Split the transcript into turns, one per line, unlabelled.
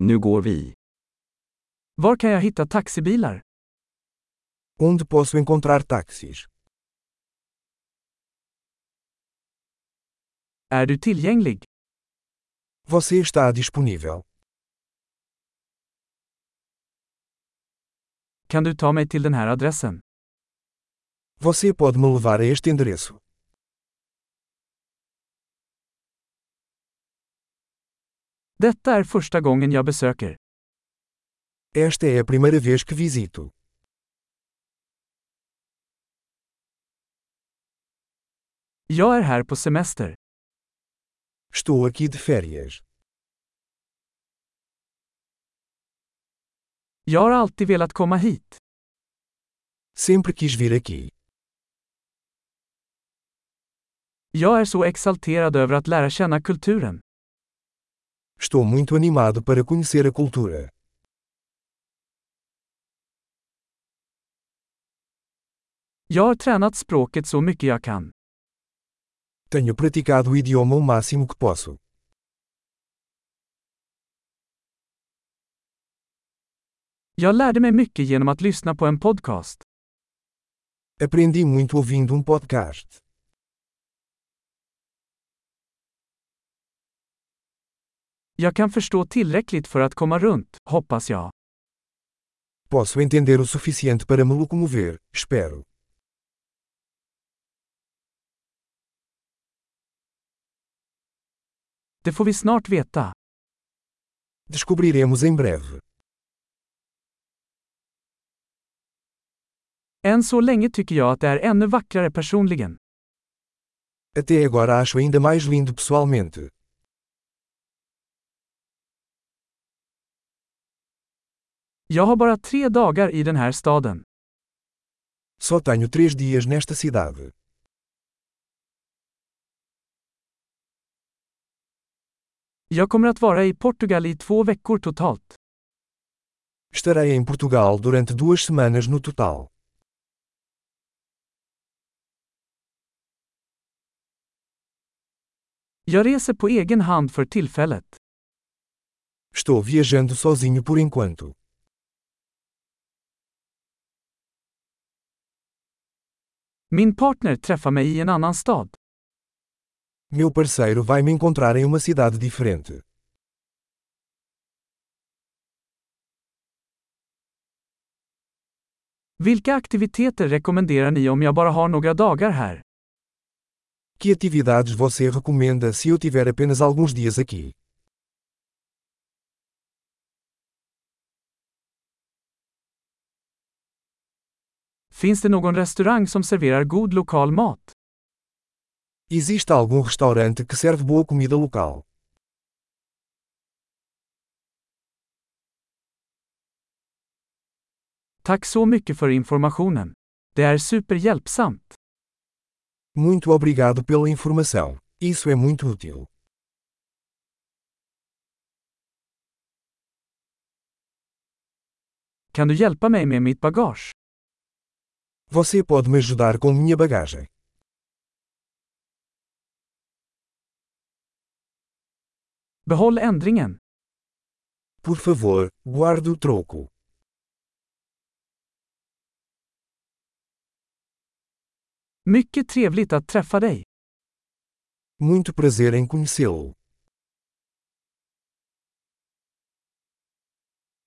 Nu går vi.
Var kan jag hitta taxibilar?
Onde posso encontrar táxis?
Är du tillgänglig?
Você está disponível.
Kan du ta mig till den här adressen?
Você pode me levar a este endereço.
Detta är första gången jag besöker.
Esta é a primeira vez que visito.
Jag är här på semester.
Estou aqui de férias.
Jag har alltid velat komma hit.
Sempre quis vir aqui.
Jag är så exalterad över att lära känna kulturen.
Estou muito animado para conhecer a cultura.
Jag har tränat språket så mycket jag kan.
Tenho praticado o idioma o máximo que posso.
Jag lärde mig mycket genom att lyssna på en podcast.
Aprendi muito ouvindo um podcast.
Jag kan förstå tillräckligt för att komma runt, hoppas jag.
Posso entender o suficiente para me locomover, espero.
Det får vi snart veta.
Descobriremos em breve.
Än så länge tycker jag att det är ännu vackrare personligen.
Até agora acho ainda mais lindo pessoalmente.
Jag har bara tre dagar i den här staden.
Só tenho três dias nesta cidade.
Jag kommer att vara i Portugal i två veckor totalt.
Estarei em Portugal durante duas semanas no total.
Jag reser på egen hand för tillfället.
Estou viajando sozinho por enquanto.
Min partner träffar mig i en annan stad.
Meu parceiro vai me encontrar em uma cidade diferente.
Vilka aktiviteter rekommenderar ni om jag bara har några dagar här?
Que atividades você recomenda se eu tiver apenas alguns dias aqui?
Finns det någon restaurang som serverar god lokal mat?
Existe algum restaurante que serve boa comida local?
Tack så mycket för informationen. Det är superhjälpsamt.
Muito obrigado pela informação. Isso é muito útil.
Kan du hjälpa mig med mitt bagage?
Você pode me ajudar com minha bagagem.
Behåll ändringen.
Por favor, guarde o troco.
Mycket trevligt att träffa dig.
Muito prazer em conhecê-lo.